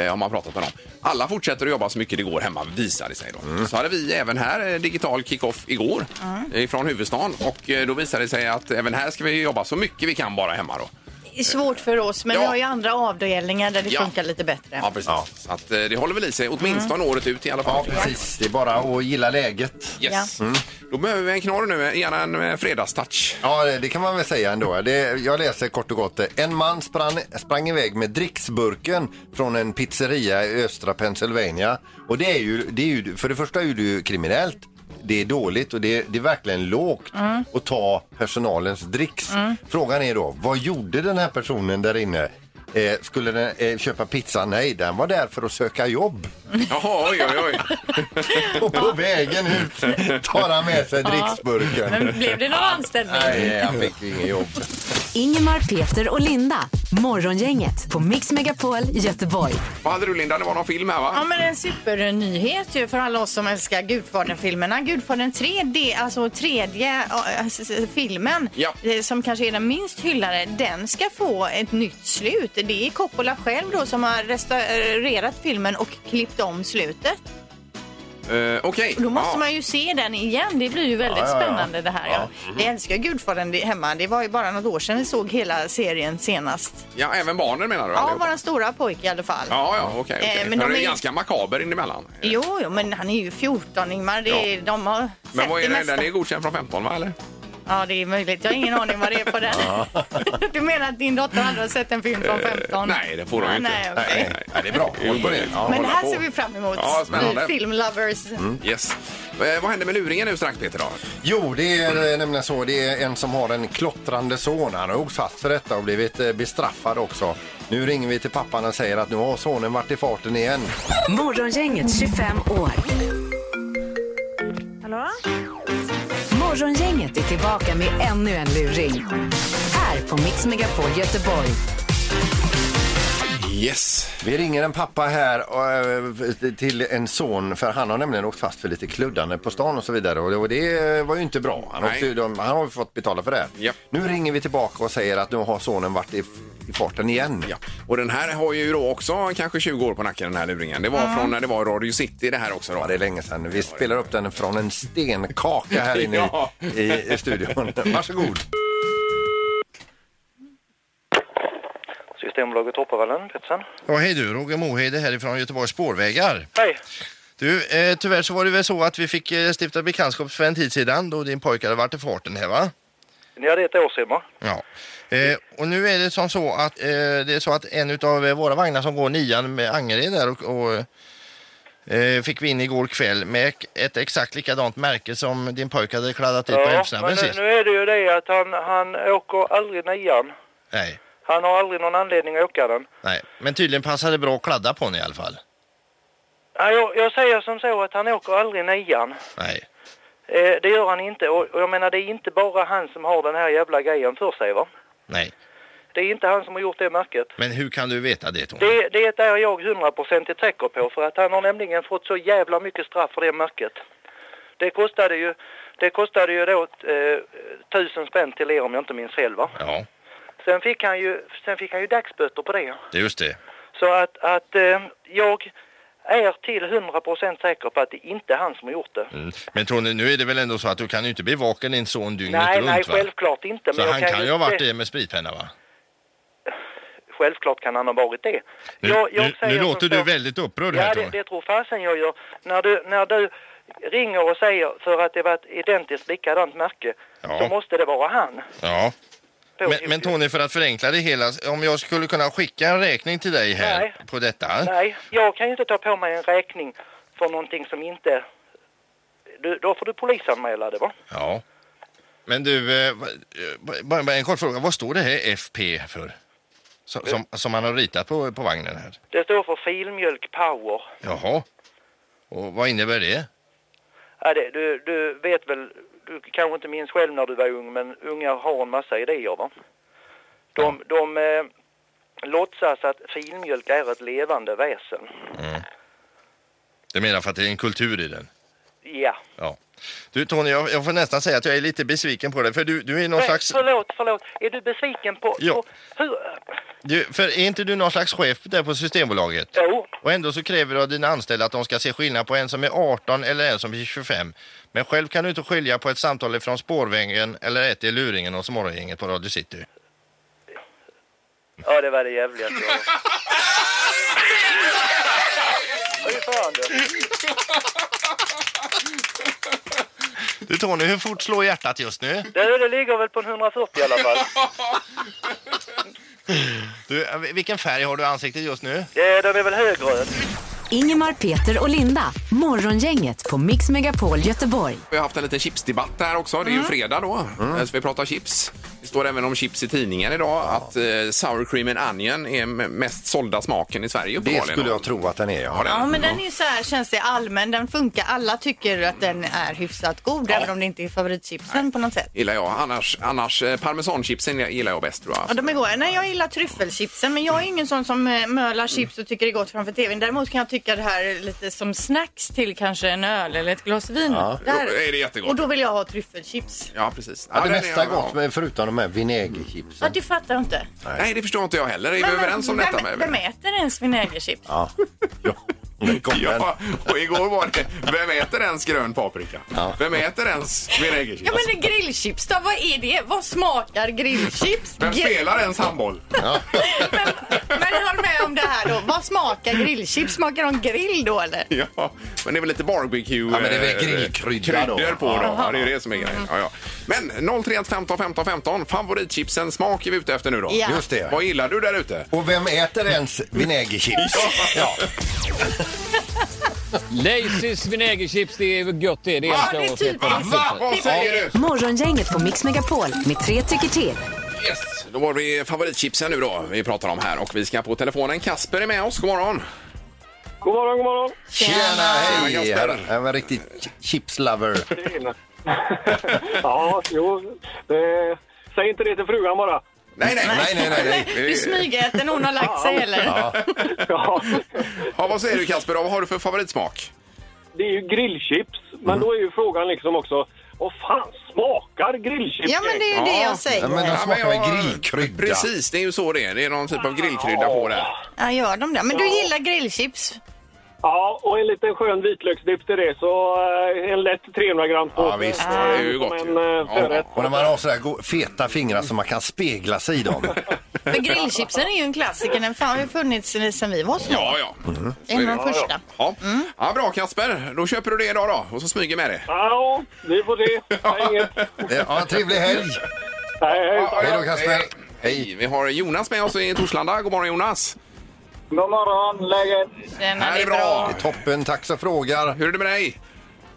Speaker 2: eh, har man pratat med dem. Alla fortsätter att jobba så mycket det går hemma, visar det sig. Då. Så hade vi även här eh, digital kick-off igår
Speaker 3: Mm.
Speaker 2: eh, från huvudstaden och eh, då visade det sig att även här ska vi jobba så mycket vi kan bara hemma. Då.
Speaker 3: Det är svårt för oss men
Speaker 2: Ja.
Speaker 3: vi har ju andra avdelningar där det
Speaker 2: Ja.
Speaker 3: funkar lite bättre.
Speaker 2: Ja, precis. Så att, eh, det håller väl i sig,
Speaker 3: Mm.
Speaker 2: åtminstone året ut i alla fall.
Speaker 4: Ja, precis. Det är bara att gilla läget.
Speaker 2: Yes.
Speaker 4: Mm.
Speaker 2: Då behöver vi en knorr nu, gärna en eh, fredagstouch.
Speaker 4: Ja, det- det kan man väl säga ändå. Det, jag läser kort och gott. det. En man sprang, sprang iväg med dricksburken från en pizzeria i östra Pennsylvania. Och det är ju, det är ju för det första är det ju kriminellt. det är dåligt och det, det är verkligen lågt att ta personalens dricks. Frågan är då, vad gjorde den här personen där inne? Eh, skulle den eh, köpa pizza? Nej, den var där för att söka jobb.
Speaker 2: Jaha, oj, oj, oj.
Speaker 4: Och på vägen ut tar han med sig dricksburken.
Speaker 5: Men blev det någon anställning?
Speaker 4: Nej, han fick ju inget jobb.
Speaker 1: Ingemar, Peter och Linda. Morgongänget på Mix Megapol Göteborg.
Speaker 2: Vad hade du Linda? Det var någon film här va?
Speaker 3: Ja, men en supernyhet ju för alla oss som älskar Gudfadern-filmerna. Gudfadern 3, det är alltså tredje äh, s- s- filmen
Speaker 2: Ja.
Speaker 3: eh, som kanske är den minst hyllade, den ska få ett nytt slut. Det är Coppola själv då som har restaurerat filmen och klippt om slutet.
Speaker 2: Eh, Okej.
Speaker 3: Då måste
Speaker 2: Ja.
Speaker 3: man ju se den igen. Det blir ju väldigt
Speaker 4: Ja, ja, ja.
Speaker 3: spännande det här. Ja.
Speaker 2: mhm.
Speaker 3: Jag älskar Gudfadern det- hemma. Det var ju bara något år sedan vi såg hela serien senast.
Speaker 2: Ja, även barnen menar du?
Speaker 3: Ja,
Speaker 2: allihopa?
Speaker 3: våran stora pojke i alla fall.
Speaker 2: Ja, ja, okej. okej.
Speaker 3: Eh, men
Speaker 2: men
Speaker 3: de
Speaker 2: de är
Speaker 3: är-
Speaker 2: ju ganska makaber inemellan. Eh,
Speaker 3: Jo, jo, men han är ju 14 Ingmar. Det är,
Speaker 2: Ja.
Speaker 3: De har
Speaker 2: Men
Speaker 3: sett
Speaker 2: vad är det?
Speaker 3: mesta.
Speaker 2: Den är godkänd från 15 va? Eller?
Speaker 3: Ja, det är möjligt. Jag har ingen aning vad det är på den. du menar att din dotter aldrig har sett en film från 15?
Speaker 2: Eh, Nej, det får de
Speaker 3: Ja,
Speaker 2: ju inte.
Speaker 3: Nej, okej.
Speaker 4: Nej, nej, nej, det är bra. Håll på det. Ja,
Speaker 3: Men det
Speaker 2: hålla
Speaker 3: här
Speaker 2: på.
Speaker 3: ser vi fram emot.
Speaker 2: Ja, spännande.
Speaker 3: Vi Filmlovers.
Speaker 2: Mm. Yes. Eh, vad händer med luringen nu strax Peter? Då?
Speaker 4: Jo, det är eh, nämligen så. Det är en som har en klottrande son. Han har åkt fast för detta och blivit eh, bestraffad också. Nu ringer vi till pappan och säger att nu har sonen varit i farten igen.
Speaker 1: Morgongänget 25 år.
Speaker 8: Hallå?
Speaker 1: Morgongänget är tillbaka med ännu en luring. Här på Mix Megapol Göteborg.
Speaker 2: Yes.
Speaker 4: Vi ringer en pappa här och, eh, till en son för han har nämligen åkt fast för lite kluddande på stan och så vidare och det, och det var ju inte bra. Han,
Speaker 2: Nej.
Speaker 4: åkte, ju- de, han har ju fått betala för det.
Speaker 2: Japp.
Speaker 4: Nu ringer vi tillbaka och säger att nu har sonen varit i, i farten igen.
Speaker 2: Ja. Och den här har ju då också kanske 20 år på nacken den här luringen. Det var från när det var Radio City det här också då.
Speaker 4: Ja, det är länge sedan. Vi spelar upp den från en stenkaka här inne i-
Speaker 2: Ja.
Speaker 4: i, i studion. Varsågod.
Speaker 6: Systembolaget Hoppavallen, Petersen.
Speaker 10: Ja, hej du, Roger Mohede härifrån Göteborgs spårvägar.
Speaker 6: Hej!
Speaker 10: Du, eh, tyvärr så var det väl så att vi fick eh, stifta bekantskap för en tid sedan då din pojke hade varit i farten här va?
Speaker 6: Ja, det är ett år sedan va?
Speaker 10: Ja. Eh, och nu är det som så att eh, det är så att en av våra vagnar som går nian med Angered där och, och eh, fick vi in igår kväll med ett exakt likadant märke som din pojke hade kladdat dit på
Speaker 6: men
Speaker 10: hemsnabben
Speaker 6: nu,
Speaker 10: sist.
Speaker 6: nu är det ju det att han, han åker aldrig nian.
Speaker 10: Nej,
Speaker 6: Han har aldrig någon anledning att åka den.
Speaker 10: nej, men tydligen passade det bra att kladda på den i alla fall.
Speaker 6: Ja, jag, jag säger som så att han åker aldrig nian.
Speaker 10: Nej,
Speaker 6: Eh, det gör han inte och, och jag menar det är inte bara han som har den här jävla grejen för sig va?
Speaker 10: nej.
Speaker 6: Det är inte han som har gjort det märket.
Speaker 10: Men hur kan du veta det Tony?
Speaker 6: Det, det är jag hundraprocentigt säker på för att han har nämligen fått så jävla mycket straff för det märket. Det kostade ju, det kostade ju då eh, tusen spänn till er om jag inte minns fel va?
Speaker 10: Ja,
Speaker 6: Sen fick han ju, sen fick han ju dagsböter på det.
Speaker 10: det är just det.
Speaker 6: Så att, att eh, jag är till 100% säker på att det inte är han som har gjort det.
Speaker 10: Mm. Men Tony, nu är det väl ändå så att du kan ju inte bevaka din son dygnet
Speaker 6: Nej,
Speaker 10: runt
Speaker 6: nej,
Speaker 10: va?
Speaker 6: självklart inte.
Speaker 10: Så han kan ju ha varit
Speaker 6: se-
Speaker 10: det med spritpenna va?
Speaker 6: Självklart kan han ha varit det.
Speaker 10: Nu,
Speaker 6: Jag- jag
Speaker 10: nu,
Speaker 6: säger
Speaker 10: nu
Speaker 6: som
Speaker 10: låter du
Speaker 6: så-
Speaker 10: väldigt upprörd
Speaker 6: Ja,
Speaker 10: här
Speaker 6: det,
Speaker 10: Tony.
Speaker 6: det tror fasen jag gör. När du, när du ringer och säger för att det var ett identiskt likadant märke,
Speaker 10: Ja.
Speaker 6: då måste det vara han.
Speaker 10: Ja.
Speaker 6: Då-
Speaker 10: Men, men Tony, för att förenkla det hela, om jag skulle kunna skicka en räkning till dig här
Speaker 6: Nej.
Speaker 10: på detta?
Speaker 6: Nej, jag kan ju inte ta på mig en räkning för någonting som inte... Du, då får du polisanmäla det, va?
Speaker 10: Ja. Men du, eh, va- eh, bara, bara en kort fråga. Vad står det här FP för?
Speaker 6: Eh.
Speaker 10: Som, som, som han har ritat på, på vagnen här?
Speaker 6: Det står för filmjölk power.
Speaker 10: Jaha. Och vad innebär det?
Speaker 6: Ja, det, du, du vet väl, du kanske inte minns själv när du var ung, men ungar har en massa idéer va? De, de eh, låtsas att filmjölk är ett levande väsen.
Speaker 10: Du menar för att det är en kultur i den?
Speaker 6: Ja.
Speaker 10: Ja. Du Tony, jag, jag får nästan säga att jag är lite besviken på dig för du, du är någon
Speaker 6: Nej,
Speaker 10: slags...
Speaker 6: Eh, Förlåt, förlåt. Är du besviken på...
Speaker 10: Ja.
Speaker 6: på hur?
Speaker 10: Du, för är inte du någon slags chef där på Systembolaget?
Speaker 6: Jo,
Speaker 10: Och ändå så kräver du av dina anställda att de ska se skillnad på en som är 18 eller en som är 25. Men själv kan du inte skilja på ett samtal från spårvägen eller ett i luringen hos morgongänget på Radio City.
Speaker 6: ja det var det jävligaste jag hört. Fy fan du.
Speaker 10: Du Tony, hur fort slår hjärtat just nu?
Speaker 6: Det, det ligger väl på en 140 i alla fall.
Speaker 10: Du, eh, vilken färg har du i ansiktet just nu?
Speaker 6: Det, den är väl högröd.
Speaker 1: Ingemar, Peter och Linda. Morgongänget på Mix Megapol Göteborg.
Speaker 2: Vi har haft en liten chipsdebatt här också.
Speaker 3: Mm.
Speaker 2: Det är ju fredag då, Eh, så vi pratar chips. Det står även om chips i tidningen idag att eh, sour cream and onion är m- mest sålda smaken i Sverige
Speaker 4: Det
Speaker 2: uppenbarligen.
Speaker 4: skulle jag tro att den är. Ja.
Speaker 2: det-
Speaker 3: Ja, men den är ju så här, känns det allmän. Den funkar. Alla tycker att den är hyfsat god, även om det inte är favoritchipsen på något sätt.
Speaker 2: gillar jag. Annars, annars eh, parmesanchipsen gillar jag bäst tror jag.
Speaker 3: Ja, de är goda. Nej, jag gillar tryffelchipsen, men jag är ingen sån som eh, mölar chips
Speaker 2: Mm.
Speaker 3: och tycker det är gott framför tvn. Däremot kan jag tycka det här lite som snacks till kanske en öl eller ett glas vin.
Speaker 2: Jo,
Speaker 3: Där.
Speaker 2: är det jättegott.
Speaker 3: Och då vill jag ha tryffelchips.
Speaker 2: Ja, precis.
Speaker 4: Ja, det
Speaker 2: den
Speaker 4: mesta är
Speaker 2: jag-
Speaker 4: gott, men förutom de här vinägerchipsen.
Speaker 3: Ja, det fattar jag inte.
Speaker 2: Nej, det förstår inte jag heller. Är vi överens om
Speaker 3: vem,
Speaker 2: detta?
Speaker 3: Vem,
Speaker 2: med-
Speaker 3: vem äter ens vinägerchips?
Speaker 4: Ja. Ja.
Speaker 2: Ja, och igår var det Vem äter ens grön paprika?
Speaker 4: Ja.
Speaker 2: Vem äter ens vinägerchips?
Speaker 3: Ja, men det är grillchips då. Vad är det? Vad smakar grillchips?
Speaker 2: Vem
Speaker 3: Ge-
Speaker 2: spelar ens handboll?
Speaker 3: Men håll med om det här då. Vad smakar grillchips? Smakar de grill då eller?
Speaker 2: Ja, men det är väl lite barbecue... Ja,
Speaker 4: men det är väl grillkrydda då.
Speaker 2: på då. Ja, det är det som är
Speaker 3: Mm.
Speaker 2: grejen. Ja, ja. Men 031 15 15 15, favoritchipsen smak är vi ute efter nu då.
Speaker 3: Ja.
Speaker 4: Just det.
Speaker 2: Vad gillar du där ute?
Speaker 4: Och vem äter ens vinägerchips? ja.
Speaker 11: Lazys vinägerchips, det är väl gött det. Det
Speaker 3: Ja,
Speaker 11: älskar
Speaker 3: det är
Speaker 11: jag att
Speaker 3: typ
Speaker 11: äta.
Speaker 3: det.
Speaker 2: Va? Vad säger du?
Speaker 1: Morgongänget på Mix Megapol med tre tycker till.
Speaker 2: Yes, då var vi favoritchipsen nu då vi pratar om här och vi ska på telefonen. Kasper är med oss, god morgon.
Speaker 9: God morgon, god morgon!
Speaker 4: Tjena,
Speaker 2: Tjena,
Speaker 4: hej!
Speaker 2: Kasper.
Speaker 4: Här- här var en riktig ch- chipslover.
Speaker 9: ja, jo. Det... Säg inte det till frugan bara.
Speaker 2: Nej, nej,
Speaker 4: Nej, nej, nej, nej.
Speaker 2: Vi-
Speaker 3: Du smygäter när hon har lagt sig eller?
Speaker 9: Ja,
Speaker 2: Ja, vad säger du Kasper, vad har du för favoritsmak?
Speaker 9: det är ju grillchips, men
Speaker 12: Mm.
Speaker 9: då är ju frågan liksom också, vad fan smakar grillchips?
Speaker 3: Ja, men det är ju
Speaker 2: Ja.
Speaker 3: det jag säger.
Speaker 4: Ja, men de smakar
Speaker 2: men
Speaker 4: väl grillkrydda?
Speaker 2: Precis, det är ju så det är. Det är någon typ av grillkrydda på det.
Speaker 3: Ja, gör de det? Men du gillar grillchips?
Speaker 9: Ja, och en liten skön vitlöksdipp till det, så eh, en lätt 300 gram på.
Speaker 4: Ja, visst.
Speaker 2: Det är ju gott ju.
Speaker 9: en eh, förrätt.
Speaker 4: Och när man har sådär go- feta fingrar så man kan spegla sig i dem.
Speaker 3: För grillchipsen är ju en klassiker. Den fan har ju funnits sedan vi var små.
Speaker 2: Ja, ja.
Speaker 3: en av de första.
Speaker 2: Ja.
Speaker 3: Mm.
Speaker 2: ja. Bra Kasper, då köper du det idag då och så smyger med det.
Speaker 9: Ja, vi får se. Nej, inget.
Speaker 4: Ja, trevlig helg!
Speaker 9: Nej, hej.
Speaker 4: Hej då Kasper!
Speaker 2: Hej, vi har Jonas med oss i Torslanda. God morgon Jonas!
Speaker 9: God morgon, läget?
Speaker 3: Den
Speaker 2: Här är bra!
Speaker 4: Toppen, tack så frågar.
Speaker 2: Hur är det med dig?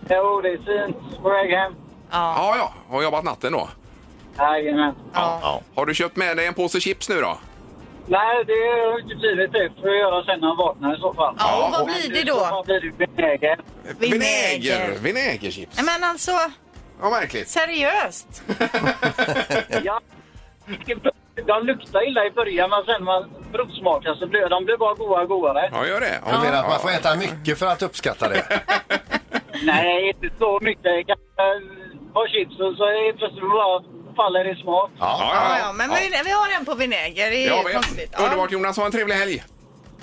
Speaker 9: Jo, det är fint. På väg hem.
Speaker 3: Ja.
Speaker 2: Ja, ja, har jobbat natten då.
Speaker 9: Jajamän.
Speaker 3: Ja.
Speaker 4: Ja.
Speaker 2: Har du köpt med dig en påse chips nu då?
Speaker 9: Nej, det är inte blivit det. får jag göra sen när han vaknar i så fall.
Speaker 3: ja, och vad blir det då?
Speaker 9: blir det benägen.
Speaker 2: Vinäger! Vinägerchips.
Speaker 3: Nej, men alltså,
Speaker 2: Ja, märkligt.
Speaker 3: seriöst.
Speaker 9: Ja. De luktar illa i början, men sen när man provsmakar så blir de blir bara goda och godare.
Speaker 2: Ja, gör det.
Speaker 4: Du menar att man får äta mycket för att uppskatta det?
Speaker 9: Nej, inte så mycket. Kanske var chips och så är det plötsligt bara faller i smak.
Speaker 2: Ja,
Speaker 3: Ja,
Speaker 2: ja,
Speaker 3: ja, men vi, vi har en på vinäger. Det
Speaker 2: Ja,
Speaker 3: är
Speaker 2: vi-
Speaker 3: konstigt. Ja.
Speaker 2: Underbart Jonas, ha en trevlig helg!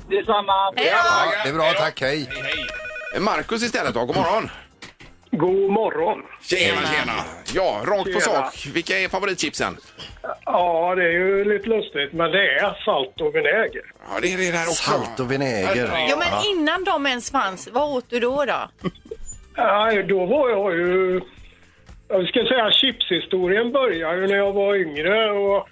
Speaker 9: Det är samma.
Speaker 3: Hej då!
Speaker 4: Ja, det är bra, tack, hej!
Speaker 2: Markus istället då, god morgon!
Speaker 9: God morgon!
Speaker 2: Tjena, tjena! Ja, rakt på
Speaker 9: Tjena.
Speaker 2: sak. Vilka är favoritchipsen?
Speaker 9: Ja, det är ju lite lustigt, men det är salt och vinäger.
Speaker 2: Ja, det är det där också.
Speaker 4: Salt och vinäger.
Speaker 3: Jo, men innan de ens fanns, vad åt du då? då?
Speaker 9: Nej, då var jag ju... Jag ska säga chipshistorien började ju när jag var yngre och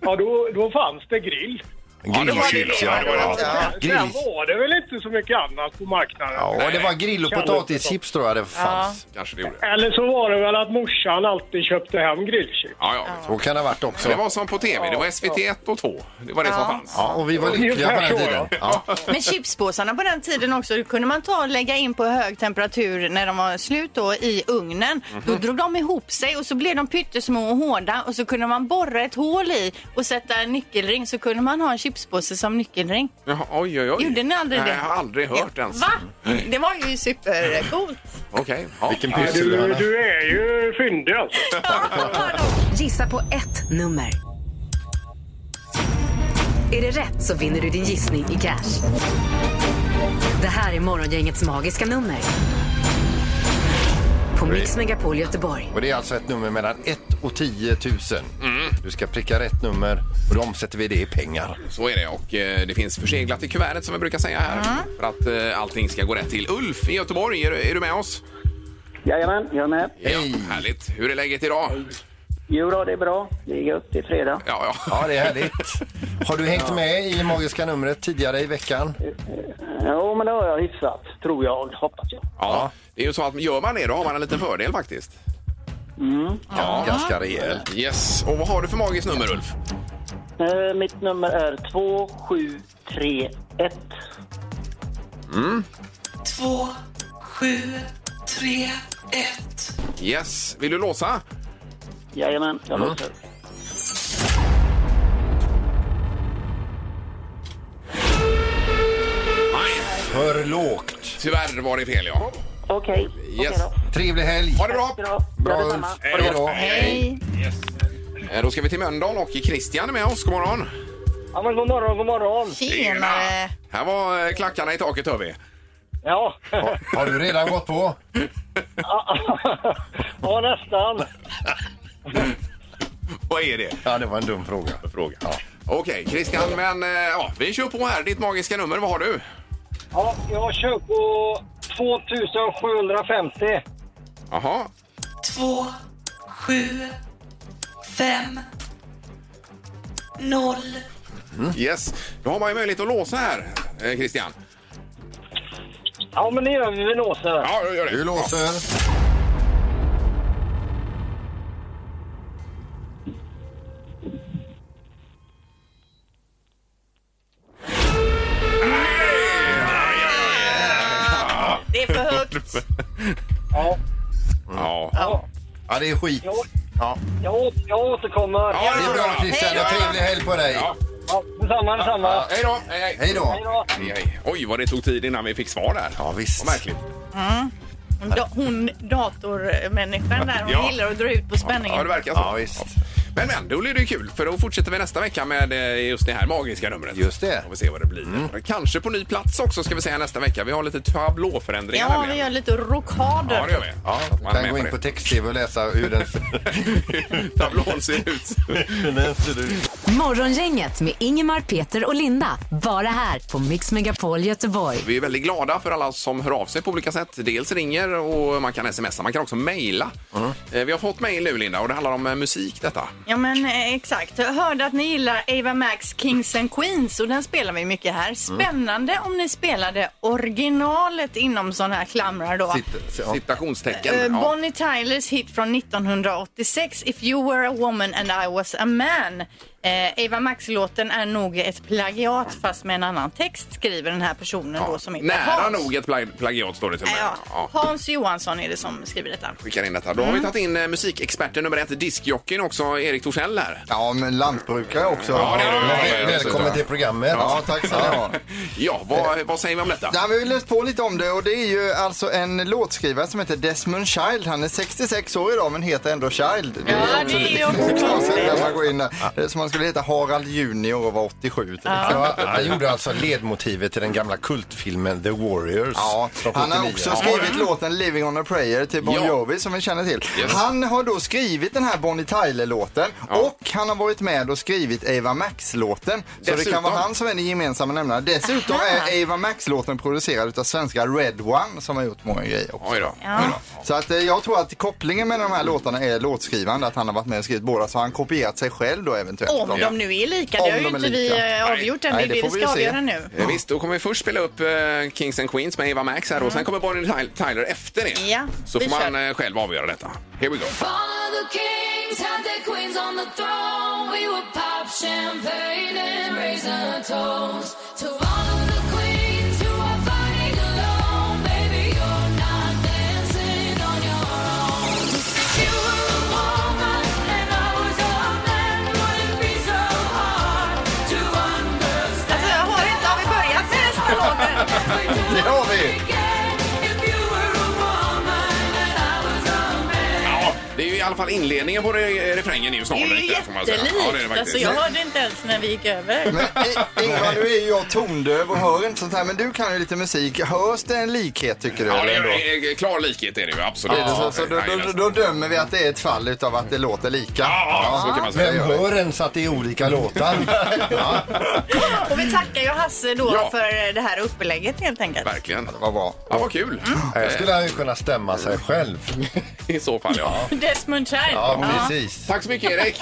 Speaker 9: ja, då, då fanns det grill.
Speaker 4: Grillchips, ja.
Speaker 3: Ja.
Speaker 4: Grill.
Speaker 9: Sen var det väl inte så mycket annat på marknaden.
Speaker 4: Ja, det var grill och potatischips tror jag det fanns.
Speaker 2: Kanske det gjorde.
Speaker 9: Eller så var det väl att morsan alltid köpte hem grillchips.
Speaker 2: Ja, ja.
Speaker 4: Så kan det ha varit
Speaker 2: Så det
Speaker 4: också.
Speaker 2: var som på tv. Det var SVT 1 och 2. Det var det som fanns.
Speaker 4: Ja, och vi var lyckliga på den tiden. Ja.
Speaker 3: Men chipspåsarna på den tiden också, då kunde man ta och lägga in på hög temperatur när de var slut då i ugnen. Då
Speaker 2: Mhm.
Speaker 3: drog de ihop sig och så blev de pyttesmå och hårda och så kunde man borra ett hål i och sätta en nyckelring så kunde man ha en chipspåse som nyckelring.
Speaker 2: Jaha, oj, oj, oj.
Speaker 3: Gjorde ni aldrig
Speaker 2: Nej,
Speaker 3: det?
Speaker 2: jag har aldrig hört ens.
Speaker 3: Va? Det var ju supercoolt.
Speaker 2: Okej. Ja.
Speaker 4: Vilken
Speaker 9: Ja, Du,
Speaker 4: pyssel.
Speaker 9: du är ju fyndig alltså.
Speaker 1: Gissa på ett nummer. Är det rätt så vinner du din gissning i cash. Det här är Morgongängets magiska nummer. På Mix Megapol Göteborg.
Speaker 4: Och det är alltså ett nummer mellan 1 och 10 000. Du ska pricka rätt nummer och då omsätter vi det i pengar.
Speaker 2: Så är det. Och eh, det finns förseglat i kuvertet som vi brukar säga här.
Speaker 3: Mm.
Speaker 2: För att eh, allting ska gå rätt till. Ulf i Göteborg, är, du- är du med oss?
Speaker 9: Jajamän, jag är med.
Speaker 2: Ja, härligt. Hur är läget idag?
Speaker 9: Jo då, det är bra. Det är gött, det är fredag.
Speaker 2: Ja, ja.
Speaker 4: Ja, det är härligt. Har du hängt med i magiska numret tidigare i veckan?
Speaker 13: Jo, men det har jag hyfsat, tror jag, hoppas jag.
Speaker 2: Ja. Det är ju så att gör man det då har man en liten fördel faktiskt.
Speaker 9: Mm.
Speaker 2: Ja, ganska rejält. Yes. Och vad har du för magiskt nummer Ulf?
Speaker 13: Eh, mitt nummer är 2731.
Speaker 2: Mm.
Speaker 14: Två, sju, tre, ett.
Speaker 2: Yes. Vill du låsa?
Speaker 13: Jajamän, jag
Speaker 2: Mm.
Speaker 13: låter.
Speaker 4: För lågt.
Speaker 2: Tyvärr var det fel ja.
Speaker 13: Okej.
Speaker 2: Yes.
Speaker 4: Trevlig helg.
Speaker 2: Ha det bra.
Speaker 4: Bra Ulf.
Speaker 2: Hej då. Eh, Då ska vi till Mölndal och Christian är med oss. God morgon.
Speaker 13: Ja, men god morgon, god morgon.
Speaker 3: Tjenare!
Speaker 2: Här var eh, klackarna i taket hör vi.
Speaker 13: Ja.
Speaker 4: Har du redan gått på?
Speaker 13: ja, nästan.
Speaker 2: Vad är det?
Speaker 4: Ja, det var en dum fråga.
Speaker 2: fråga. Okej Christian, men eh, ja, vi kör på här. Ditt magiska nummer, vad har du?
Speaker 13: Ja, jag kör på 2750.
Speaker 2: Jaha.
Speaker 14: Två, sju, fem, noll.
Speaker 2: Yes. Då har man ju möjlighet att låsa här, eh, Christian.
Speaker 13: Ja, men det gör vi. Vi låser.
Speaker 2: Ja, jag gör det.
Speaker 4: Du låser.
Speaker 3: Det är för högt.
Speaker 13: Ja.
Speaker 2: Ja.
Speaker 13: Ja.
Speaker 4: Ja, det är skit. Ja.
Speaker 13: Jag, å- jag återkommer.
Speaker 4: Ja, det är bra Christian. En trevlig helg på dig.
Speaker 13: Ja, detsamma, detsamma.
Speaker 4: Ja,
Speaker 2: Hej då! Hej, hej.
Speaker 4: Hej då.
Speaker 2: Hej, hej. Oj, vad det tog tid innan vi fick svar där.
Speaker 4: Ja, visst.
Speaker 2: Vad märkligt.
Speaker 3: Mm. Da- hon datormänniskan där, hon
Speaker 2: Ja.
Speaker 3: gillar att dra ut på spänningen.
Speaker 2: Ja, det verkar så. Men, men, då blir det ju kul för då fortsätter vi nästa vecka med eh, just det här magiska numret. Just
Speaker 4: det. Mm.
Speaker 2: Får vi se vad det blir. Kanske på ny plats också ska vi säga nästa vecka. Vi har lite tablåförändringar
Speaker 3: Ja,
Speaker 2: nämligen.
Speaker 3: vi gör lite rokader.
Speaker 2: Ja, det gör vi.
Speaker 4: Ja,
Speaker 2: Man är
Speaker 4: kan
Speaker 2: med
Speaker 4: gå
Speaker 2: på
Speaker 4: in
Speaker 2: det.
Speaker 4: på text-tv och läsa hur den
Speaker 2: tablån ser ut.
Speaker 4: den ser ut.
Speaker 1: Morgongänget med Ingemar, Peter och Linda. Bara här på Mix Megapol Göteborg.
Speaker 2: Vi är väldigt glada för alla som hör av sig på olika sätt. Dels ringer och man kan smsa, man kan också mejla.
Speaker 4: Mm.
Speaker 2: Eh, Vi har fått mejl nu Linda och det handlar om eh, musik detta.
Speaker 3: Ja men eh, exakt. Jag hörde att ni gillar Ava Max Kings and Queens och den spelar vi mycket
Speaker 2: Mm.
Speaker 3: här. Spännande om ni spelade originalet inom sådana här klamrar då.
Speaker 2: Citationstecken.
Speaker 3: Eh,
Speaker 2: ja.
Speaker 3: Bonnie Tylers hit från 1986, If you were a woman and I was a man. Eh, Ava Max-låten är nog ett plagiat fast med en annan text skriver den här personen då som heter
Speaker 2: Nära
Speaker 3: Hans.
Speaker 2: nog ett plag- plagiat står det till och med. Ja.
Speaker 3: Hans Johansson är det som skriver detta.
Speaker 2: Skickar in detta. Då har vi
Speaker 3: Mm.
Speaker 2: tagit in eh, musikexperten nummer ett, diskjockeyn också, Erik Torssell här.
Speaker 7: Ja, men lantbrukare också.
Speaker 2: Ja, det är du.
Speaker 7: Men-
Speaker 2: Ja,
Speaker 4: Välkommen till programmet.
Speaker 7: Ja, tack ska ni ha.
Speaker 2: Ja,
Speaker 3: Eh.
Speaker 2: vad, vad säger vi om detta?
Speaker 7: Nej, men vi har läst på lite om det och det är ju alltså en låtskrivare som heter Desmond Child. Han är 66 år idag men heter ändå Child. Det är också lite knasigt när man går in där. Det är som om han skulle heta Harald Junior och var 87 till exempel.
Speaker 4: Ja, han gjorde alltså ledmotivet till den gamla kultfilmen The Warriors.
Speaker 7: Ja,
Speaker 4: från
Speaker 7: han har
Speaker 4: 79.
Speaker 7: också skrivit låten Living on a prayer till Bon
Speaker 4: Ja.
Speaker 7: Jovi som vi känner till.
Speaker 4: Yes.
Speaker 7: Han har då skrivit den här Bonnie Tyler-låten och han har varit med och skrivit Ava Max-låten. Så det
Speaker 2: Dessutom.
Speaker 7: kan vara han som är den gemensamma nämnaren. Dessutom är Ava Max-låten producerad av svenska Red One som har gjort många grejer också.
Speaker 2: Oj då.
Speaker 7: Så att eh, jag tror att kopplingen med de här låtarna är låtskrivande, att han har varit med och skrivit båda så har han kopierat sig själv då eventuellt.
Speaker 3: Om de nu är lika,
Speaker 7: Om
Speaker 3: det har ju
Speaker 7: de är
Speaker 3: inte
Speaker 7: lika.
Speaker 3: vi eh, avgjort än. Det
Speaker 7: Nej,
Speaker 3: är det
Speaker 7: det
Speaker 3: vi
Speaker 7: får vi
Speaker 3: ska
Speaker 7: ju se.
Speaker 3: avgöra nu.
Speaker 2: Eh, Visst, då kommer vi först spela upp eh, Kings and Queens med Eva Max här och sen kommer Bonnie Tyler- Tyler efter det.
Speaker 3: Mm. Ja,
Speaker 2: Så
Speaker 3: vi
Speaker 2: får man eh, själv avgöra detta. Here we
Speaker 14: All
Speaker 2: go.
Speaker 14: of the kings had their queens on the throne. We would pop champagne and raise a toast to all of the queens who are fighting alone. Baby, you're not dancing on your own. Just if you were a woman and I was a man, would it be so hard to understand?
Speaker 3: Alltså, jag har inte, har vi börjat med nästa låten?
Speaker 7: Det har vi!
Speaker 2: Ja, det är ju i alla fall inledningen på re- refrängen är ju
Speaker 3: Det
Speaker 2: snarare.
Speaker 3: är ju
Speaker 2: får man säga.
Speaker 3: jättelikt.
Speaker 2: Ja, det är det faktiskt.
Speaker 3: alltså, jag hörde inte ens när vi gick över.
Speaker 7: eh, Ingvar, nu är ju jag tondöv och hör inte sånt här, men du kan ju lite musik. Hörs det en likhet tycker du?
Speaker 2: Ja, det
Speaker 7: eller ändå?
Speaker 2: är, eh, klar likhet är det ju absolut.
Speaker 7: Är det så, så då,
Speaker 2: Nej,
Speaker 7: då, då dömer vi att det är ett fall utav att det låter lika.
Speaker 2: Ja, så kan man säga.
Speaker 4: Vem hör ens att det är olika låtar?
Speaker 3: Och vi tackar ju Hasse då
Speaker 4: Ja.
Speaker 3: för det här upplägget helt enkelt.
Speaker 2: Verkligen.
Speaker 7: Vad bra.
Speaker 2: Ja, vad kul. Eh,
Speaker 4: Här skulle han ju kunna stämma sig själv.
Speaker 2: I så fall, ja.
Speaker 3: Desmond Child.
Speaker 4: Ja, precis.
Speaker 2: Tack så mycket, Erik.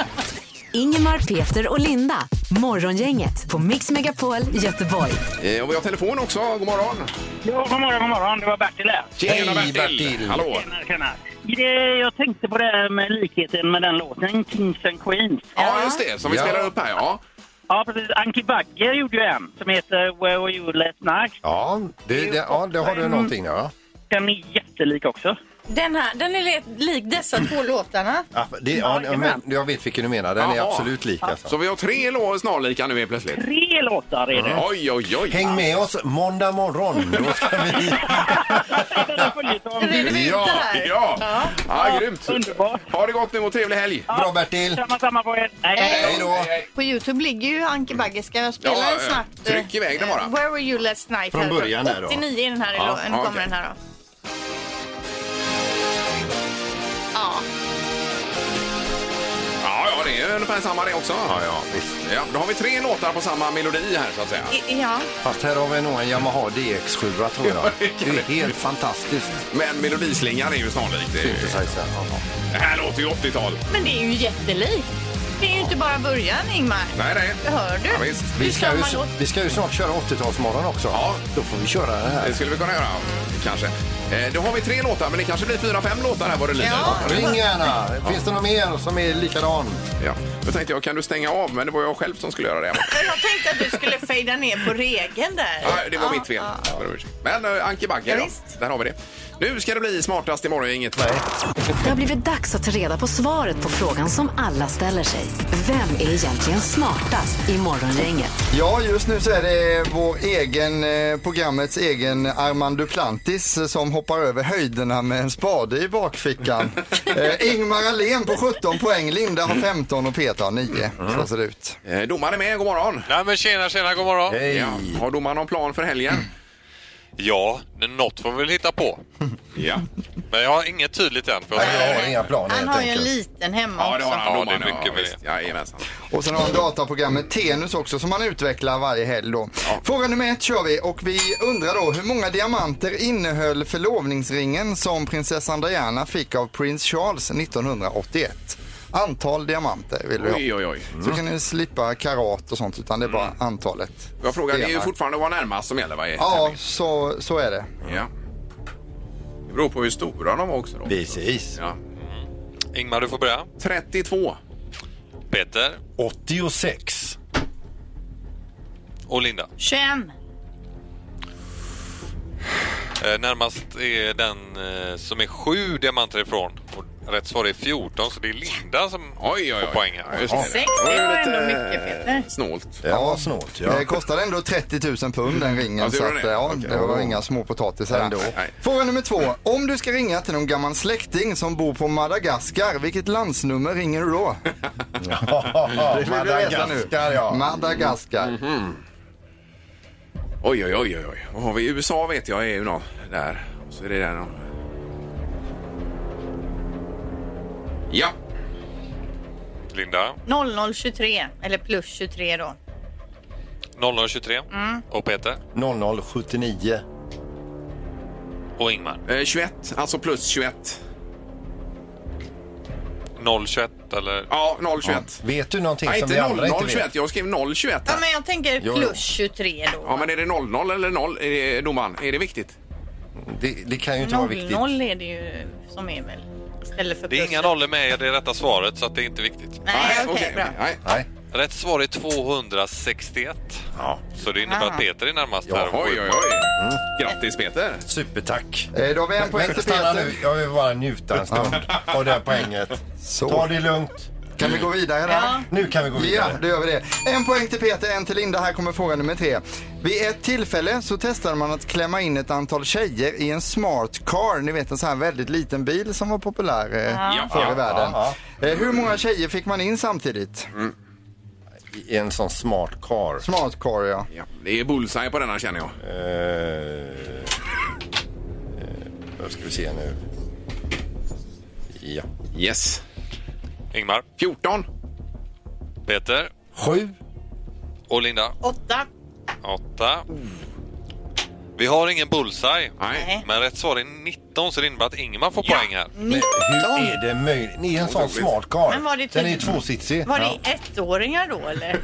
Speaker 1: Ingemar, Peter och Linda. Morgongänget på Mix Megapol Göteborg.
Speaker 2: Eh, Och vi har telefon också. God morgon!
Speaker 15: Ja, god morgon, god morgon. Det var Bertil här.
Speaker 2: Tjena Bertil! Hallå!
Speaker 15: Tjena, tjena. Det- Jag tänkte på det här med likheten med den låten, Kings and Queens.
Speaker 2: Ja, just det. Som vi spelar upp här, ja.
Speaker 15: Ja, precis. Anki Bagge gjorde ju en som heter Where Were You Last Night.
Speaker 4: Ja, det, det, ja, det har du
Speaker 15: Mm.
Speaker 4: någonting ja.
Speaker 15: Den är jättelik också.
Speaker 5: Den här, den är li- lik dessa två låtarna.
Speaker 4: Ja, det, ja, men, jag vet vilken du menar. Den är
Speaker 2: Jaha.
Speaker 4: absolut lik. Alltså.
Speaker 2: Så vi har tre lå- snarlika nu helt plötsligt. Mm.
Speaker 15: Tre låtar är det.
Speaker 2: Oj, oj, oj!
Speaker 4: Häng med oss måndag morgon. Då ska vi...
Speaker 3: Mm.
Speaker 2: Ja, ja. ja.
Speaker 15: Ja,
Speaker 2: grymt! Underbart! Ha det gott nu och trevlig helg!
Speaker 4: Bra Bertil!
Speaker 15: Samma, samma på er.
Speaker 3: Hej då! På Youtube ligger ju Anke Bagge. Ska jag spela
Speaker 2: Ja,
Speaker 3: en snabbt? eh,
Speaker 2: tryck iväg den bara.
Speaker 3: eh, Where were you last night?
Speaker 2: Från
Speaker 3: härifrån?
Speaker 2: början där då.
Speaker 3: 89 är den här.
Speaker 2: Ja,
Speaker 3: Ja, nu
Speaker 2: ja,
Speaker 3: kommer
Speaker 2: okej.
Speaker 3: den här då. Ja.
Speaker 2: Ja, ja, det är ungefär samma det också. Ja, ja, ja, då har vi tre låtar på samma melodi här så att säga.
Speaker 3: I, ja.
Speaker 4: Fast här har vi nog en Yamaha DX7 tror jag. Det är helt fantastiskt.
Speaker 2: Men melodislingan är ju snarlik. Det, är ju... det här låter ju 80-tal.
Speaker 3: Men det är ju jättelikt. Det är ju inte bara början, Ingmar.
Speaker 2: Nej, nej.
Speaker 3: Det hör du.
Speaker 2: Ja, visst.
Speaker 3: Det är
Speaker 4: Vi ska, ju,
Speaker 3: samma låt.
Speaker 4: vi ska ju snart köra 80-talsmorgon också. Ja. Då får vi köra det här.
Speaker 2: Det skulle vi kunna göra, kanske. Eh, då har vi tre låtar, men det kanske blir fyra, fem låtar här vad det lider.
Speaker 4: Ring gärna. Finns det någon mer som är likadan?
Speaker 2: Ja. Då tänkte jag, kan du stänga av? Men det var jag själv som skulle göra det.
Speaker 3: Jag tänkte att du skulle fejda ner på regeln där.
Speaker 2: Ja, Ah, det var mitt fel. Men eh, Anke Bagge,
Speaker 3: Ja,
Speaker 2: då. där har vi det. Nu ska det bli smartast i morgon, inget Nej.
Speaker 1: Det har blivit dags att ta reda på svaret på frågan som alla ställer sig. Vem är egentligen smartast i Morgongänget?
Speaker 7: Ja, just nu så är det vår egen, eh, programmets egen Armand Duplantis eh, som hoppar över höjderna med en spade i bakfickan. eh, Ingmar Ahlén på 17 poäng, Linda har 15 och Peter har 9. Så ser det ut.
Speaker 2: Eh, domaren är med, god morgon.
Speaker 12: Nej men tjena, tjena, god morgon.
Speaker 2: Hej. Ja, har domaren någon plan för helgen?
Speaker 12: Ja, något får vi väl hitta på.
Speaker 2: ja.
Speaker 12: Men jag har inget tydligt än. För jag har inga planer
Speaker 3: Han har ju en liten hemma
Speaker 12: Ja, det har
Speaker 3: också.
Speaker 12: han. det är mycket med
Speaker 2: det. Jajamensan.
Speaker 7: Och sen har han dataprogrammet Tenus också som han utvecklar varje helg då. Fråga nummer ett kör vi och vi undrar då hur många diamanter innehöll förlovningsringen som prinsessan Diana fick av prins Charles 1981? Antal diamanter vill vi ha.
Speaker 2: Oj, oj, oj.
Speaker 7: Så kan ni slippa karat och sånt utan det är
Speaker 4: Mm.
Speaker 7: bara antalet.
Speaker 2: Jag frågar, det är ju
Speaker 7: stenar.
Speaker 2: fortfarande att vara närmast som gäller, va? i
Speaker 7: Ja, så, så är det.
Speaker 2: Ja. Det beror på hur stora de var också. Då.
Speaker 4: Precis.
Speaker 2: Ja.
Speaker 12: Ingmar, du får börja.
Speaker 2: 32.
Speaker 12: Peter
Speaker 4: 86.
Speaker 12: och Linda.
Speaker 3: 21.
Speaker 12: Eh, närmast är den eh, som är sju diamanter ifrån. Och rätt svar är 14, så det är Linda som får poäng här.
Speaker 2: just det.
Speaker 7: Sex, det var ändå mycket, Peter.
Speaker 2: Snålt.
Speaker 4: Det var snålt, ja.
Speaker 7: Det kostade ändå 30 000 pund den ringen.
Speaker 4: Ja, det
Speaker 7: så
Speaker 4: gjorde
Speaker 7: att,
Speaker 4: det?
Speaker 7: ja,
Speaker 4: Okej.
Speaker 7: det var inga småpotatisar.
Speaker 4: Ändå.
Speaker 7: där. Fråga nummer två. Om du ska ringa till någon gammal släkting som bor på Madagaskar, vilket landsnummer ringer du då? Det vill vi veta nu.
Speaker 4: Madagaskar, ja. Mhm.
Speaker 7: Madagaskar.
Speaker 2: Oj, oj, oj, oj, oj. Vad har vi? USA vet jag är ju någon där. Och så är det där någon. Ja.
Speaker 12: Linda,
Speaker 3: 0023, eller plus 23 då.
Speaker 12: 0023. Och Peter
Speaker 4: 0079.
Speaker 12: och Ingmar.
Speaker 2: Eh, 21, alltså plus 21.
Speaker 12: 021 eller?
Speaker 2: Ja, 021.
Speaker 4: Vet du någonting
Speaker 2: Nej,
Speaker 4: som
Speaker 2: inte
Speaker 4: vi andra
Speaker 2: 0021.
Speaker 4: inte vet?
Speaker 2: Jag skrev 021.
Speaker 3: Ja, men jag tänker
Speaker 2: Jo, jo.
Speaker 3: plus 23 då.
Speaker 2: Ja, men är det 00 eller 0, är det, domaren? Är det viktigt?
Speaker 4: Det, kan ju
Speaker 3: 00 är det ju som är väl istället för
Speaker 12: Det är
Speaker 3: plus.
Speaker 12: inga nollor med i det rätta svaret, så att det är inte viktigt.
Speaker 3: Nej, okej, bra.
Speaker 4: Nej.
Speaker 12: Rätt svar är 261. Så det innebär
Speaker 7: Ah.
Speaker 12: att Peter är närmast
Speaker 7: Ja,
Speaker 12: här. och får
Speaker 7: oj,
Speaker 12: ett
Speaker 2: oj,
Speaker 12: poäng.
Speaker 2: Grattis Peter!
Speaker 4: Supertack!
Speaker 7: Eh, då har vi en
Speaker 4: Men-
Speaker 7: poäng
Speaker 4: men
Speaker 7: till
Speaker 4: stanna
Speaker 7: Peter.
Speaker 4: nu, jag vill bara njuta en stund av det här poänget. Ta det lugnt.
Speaker 7: Kan vi gå vidare där?
Speaker 4: Ja. Nu kan vi gå vidare.
Speaker 7: Ja, då gör vi det. En poäng till Peter, en till Linda. Här kommer fråga nummer tre. Vid ett tillfälle så testade man att klämma in ett antal tjejer i en smart car. Ni vet en sån här väldigt liten bil som var populär eh,
Speaker 4: Ja.
Speaker 7: förr
Speaker 4: Ja.
Speaker 7: i världen.
Speaker 4: Ja,
Speaker 7: Eh, hur många tjejer fick man in samtidigt?
Speaker 4: I en sån smart car.
Speaker 7: Smart car, ja.
Speaker 2: Ja, det är bullseye på denna känner jag.
Speaker 4: Eh, Vad ska vi se nu? Ja.
Speaker 2: Yes.
Speaker 12: Ingmar.
Speaker 2: 14.
Speaker 12: Peter.
Speaker 4: 7.
Speaker 12: Och Linda.
Speaker 3: 8.
Speaker 12: 8. Vi har ingen bullseye,
Speaker 2: Nej.
Speaker 12: men rätt svar är 19 så det innebär att Ingmar får poäng här.
Speaker 4: Hur är det möjligt? Ni är en sån
Speaker 12: Otroligt.
Speaker 4: smart karl.
Speaker 3: Men var det
Speaker 4: Den är
Speaker 3: tydligt-
Speaker 4: tvåsitsig.
Speaker 3: Var det ettåringar då eller?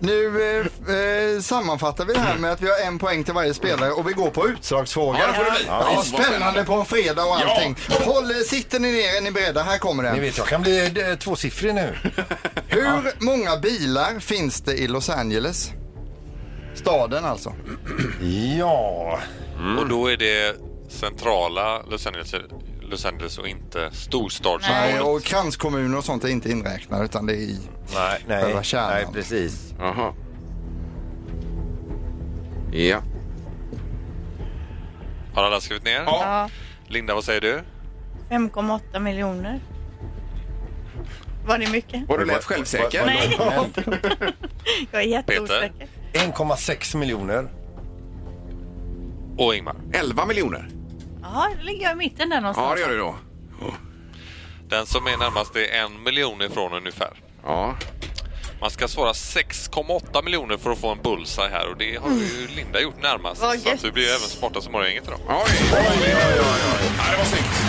Speaker 7: Nu eh, f- eh, sammanfattar vi det här med att vi har en poäng till varje spelare och vi går på utslagsfråga.
Speaker 2: Ja, det får det bli.
Speaker 7: Ja,
Speaker 2: Ja,
Speaker 7: spännande på en fredag och allting. Håll, eh, sitter ni ner, är ni beredda? Här kommer den.
Speaker 4: Ni vet, jag kan bli eh, tvåsiffrig nu.
Speaker 7: Hur många bilar finns det i Los Angeles? Staden alltså.
Speaker 4: Ja.
Speaker 12: Och då är det centrala Los Angeles, Los Angeles och inte storstadsområdet.
Speaker 7: Nej, och kranskommuner och sånt är inte inräknade utan det är i
Speaker 12: Nej.
Speaker 7: själva kärnan.
Speaker 4: Nej, precis.
Speaker 2: Jaha. Ja.
Speaker 12: Har alla skrivit ner?
Speaker 3: Ja.
Speaker 12: Linda, vad säger du?
Speaker 3: 5,8 miljoner. Var det mycket?
Speaker 2: Var du lätt självsäker?
Speaker 3: Nej, jag är jätteosäker.
Speaker 4: 1,6 miljoner.
Speaker 12: Och Ingmar?
Speaker 2: 11 miljoner.
Speaker 3: Ja, då ligger jag i mitten där någonstans.
Speaker 2: du då.
Speaker 12: Den som är närmast är en miljon ifrån ungefär.
Speaker 2: Ja.
Speaker 12: Man ska svara 6,8 miljoner för att få en bullseye här och det har ju
Speaker 2: Mm.
Speaker 12: Linda gjort närmast.
Speaker 4: Vad
Speaker 12: så att du blir ju även smartast i morgongänget idag.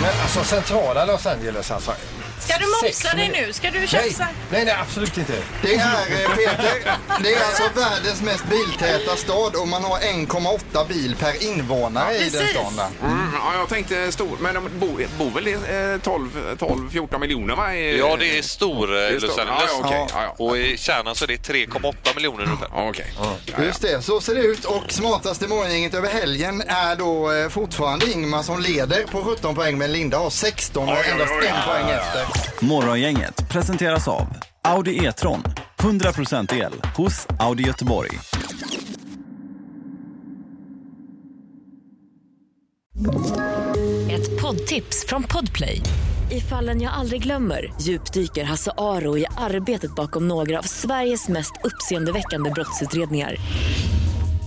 Speaker 4: Men alltså centrala Los Angeles alltså.
Speaker 3: Ska du mopsa dig nu? Ska du tjafsa?
Speaker 4: Nej, nej, nej, absolut inte.
Speaker 7: Det är, eh, Peter, det är alltså världens mest biltäta stad och man har 1,8 bil per invånare i den staden. där.
Speaker 2: Mm, ja, jag tänkte stor, men de bor, bor väl eh, 12, 12, 14 miljoner va? I-
Speaker 12: Ja, det är stor eh,
Speaker 2: Det är
Speaker 12: Los
Speaker 2: stor.
Speaker 12: Angeles.
Speaker 2: Ja, ja, okej. Ja,
Speaker 12: Och i kärnan så är det 3,8 miljoner ungefär.
Speaker 2: Ja, okej.
Speaker 7: Just det, så ser det ut och smartaste morgongänget över helgen är då eh, fortfarande Ingmar som leder på 17 poäng men Linda har 16 och endast en poäng efter.
Speaker 16: Morgongänget presenteras av Audi E-tron. 100% el hos Audi Göteborg.
Speaker 17: Ett poddtips från Podplay. I fallen jag aldrig glömmer djupdyker Hasse Aro i arbetet bakom några av Sveriges mest uppseendeväckande brottsutredningar.